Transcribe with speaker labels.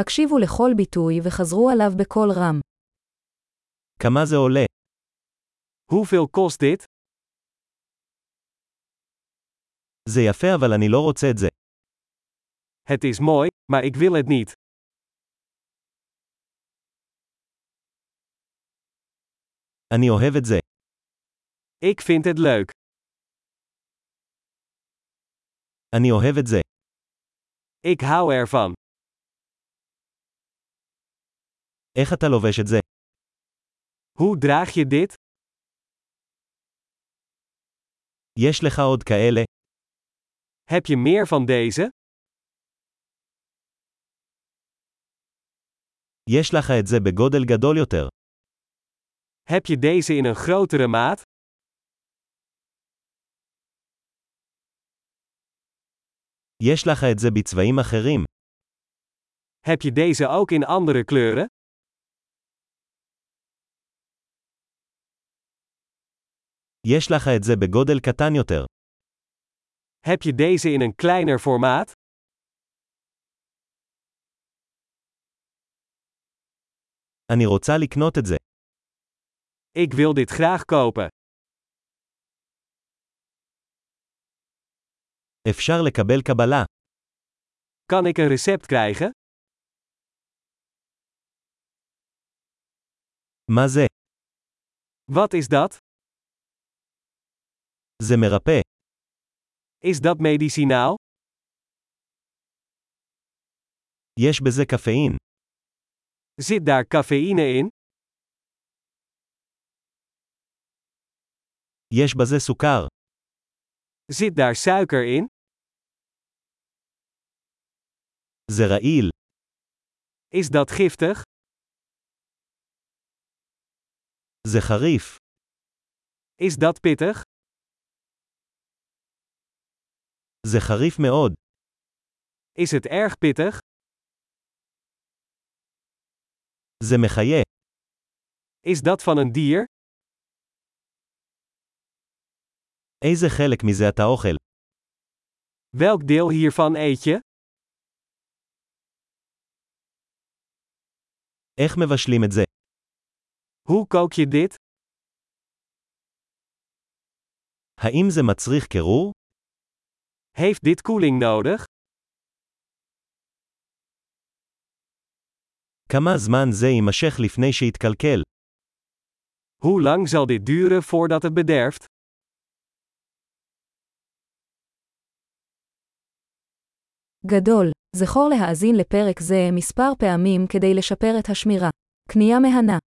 Speaker 1: הקשיבו לכל ביטוי וחזרו עליו בקול רם.
Speaker 2: כמה זה עולה?
Speaker 3: Hoeveel kost dit?
Speaker 2: זה יפה אבל אני לא רוצה את זה.
Speaker 3: Het is mooi, maar ik wil het niet.
Speaker 2: אני אוהב את זה.
Speaker 3: Ik vind het leuk.
Speaker 2: אני אוהב את זה.
Speaker 3: Ik hou ervan.
Speaker 2: איך אתה לובש את זה?
Speaker 3: Hoe draag je dit?
Speaker 2: יש לך עוד כאלה?
Speaker 3: Heb je meer van deze?
Speaker 2: יש לך את זה בגודל גדול יותר.
Speaker 3: Heb je deze in een grotere maat?
Speaker 2: יש לך את זה בצבעים אחרים.
Speaker 3: Heb je deze ook in andere kleuren?
Speaker 2: יש לך את זה בגודל קטן יותר.
Speaker 3: Heb je deze in een kleiner formaat?
Speaker 2: אני רוצה לקנות את זה.
Speaker 3: Ik wil dit graag kopen.
Speaker 2: אפשר לקבל קבלה.
Speaker 3: Kan ik een recept krijgen?
Speaker 2: מה זה?
Speaker 3: Wat is dat?
Speaker 2: זה מרפא.
Speaker 3: Is dat medicinaal?
Speaker 2: יש בזה קפאין.
Speaker 3: Zit daar cafeïne in?
Speaker 2: יש בזה סוכר.
Speaker 3: Zit daar suiker in?
Speaker 2: זה רעיל.
Speaker 3: Is dat giftig?
Speaker 2: זה חריף.
Speaker 3: Is dat pittig?
Speaker 2: זה חריף מאוד.
Speaker 3: Is het erg pittig?
Speaker 2: זה מחיה.
Speaker 3: Is dat van een dier?
Speaker 2: איזה חלק מזה אתה אוכל?
Speaker 3: Welk deel hiervan eet je?
Speaker 2: איך מבשלים את זה?
Speaker 3: Hoe kook je dit?
Speaker 2: האם זה מצריך קירור?
Speaker 3: Heeft dit koeling nodig?
Speaker 2: כמה זמן זה יימשך לפני שיתקלקל?
Speaker 3: Hoe lang zal dit duren voordat het bederft?
Speaker 1: גדול, זכור להאזין לפרק זה מספר פעמים כדי לשפר את השמירה. קנייה מהנה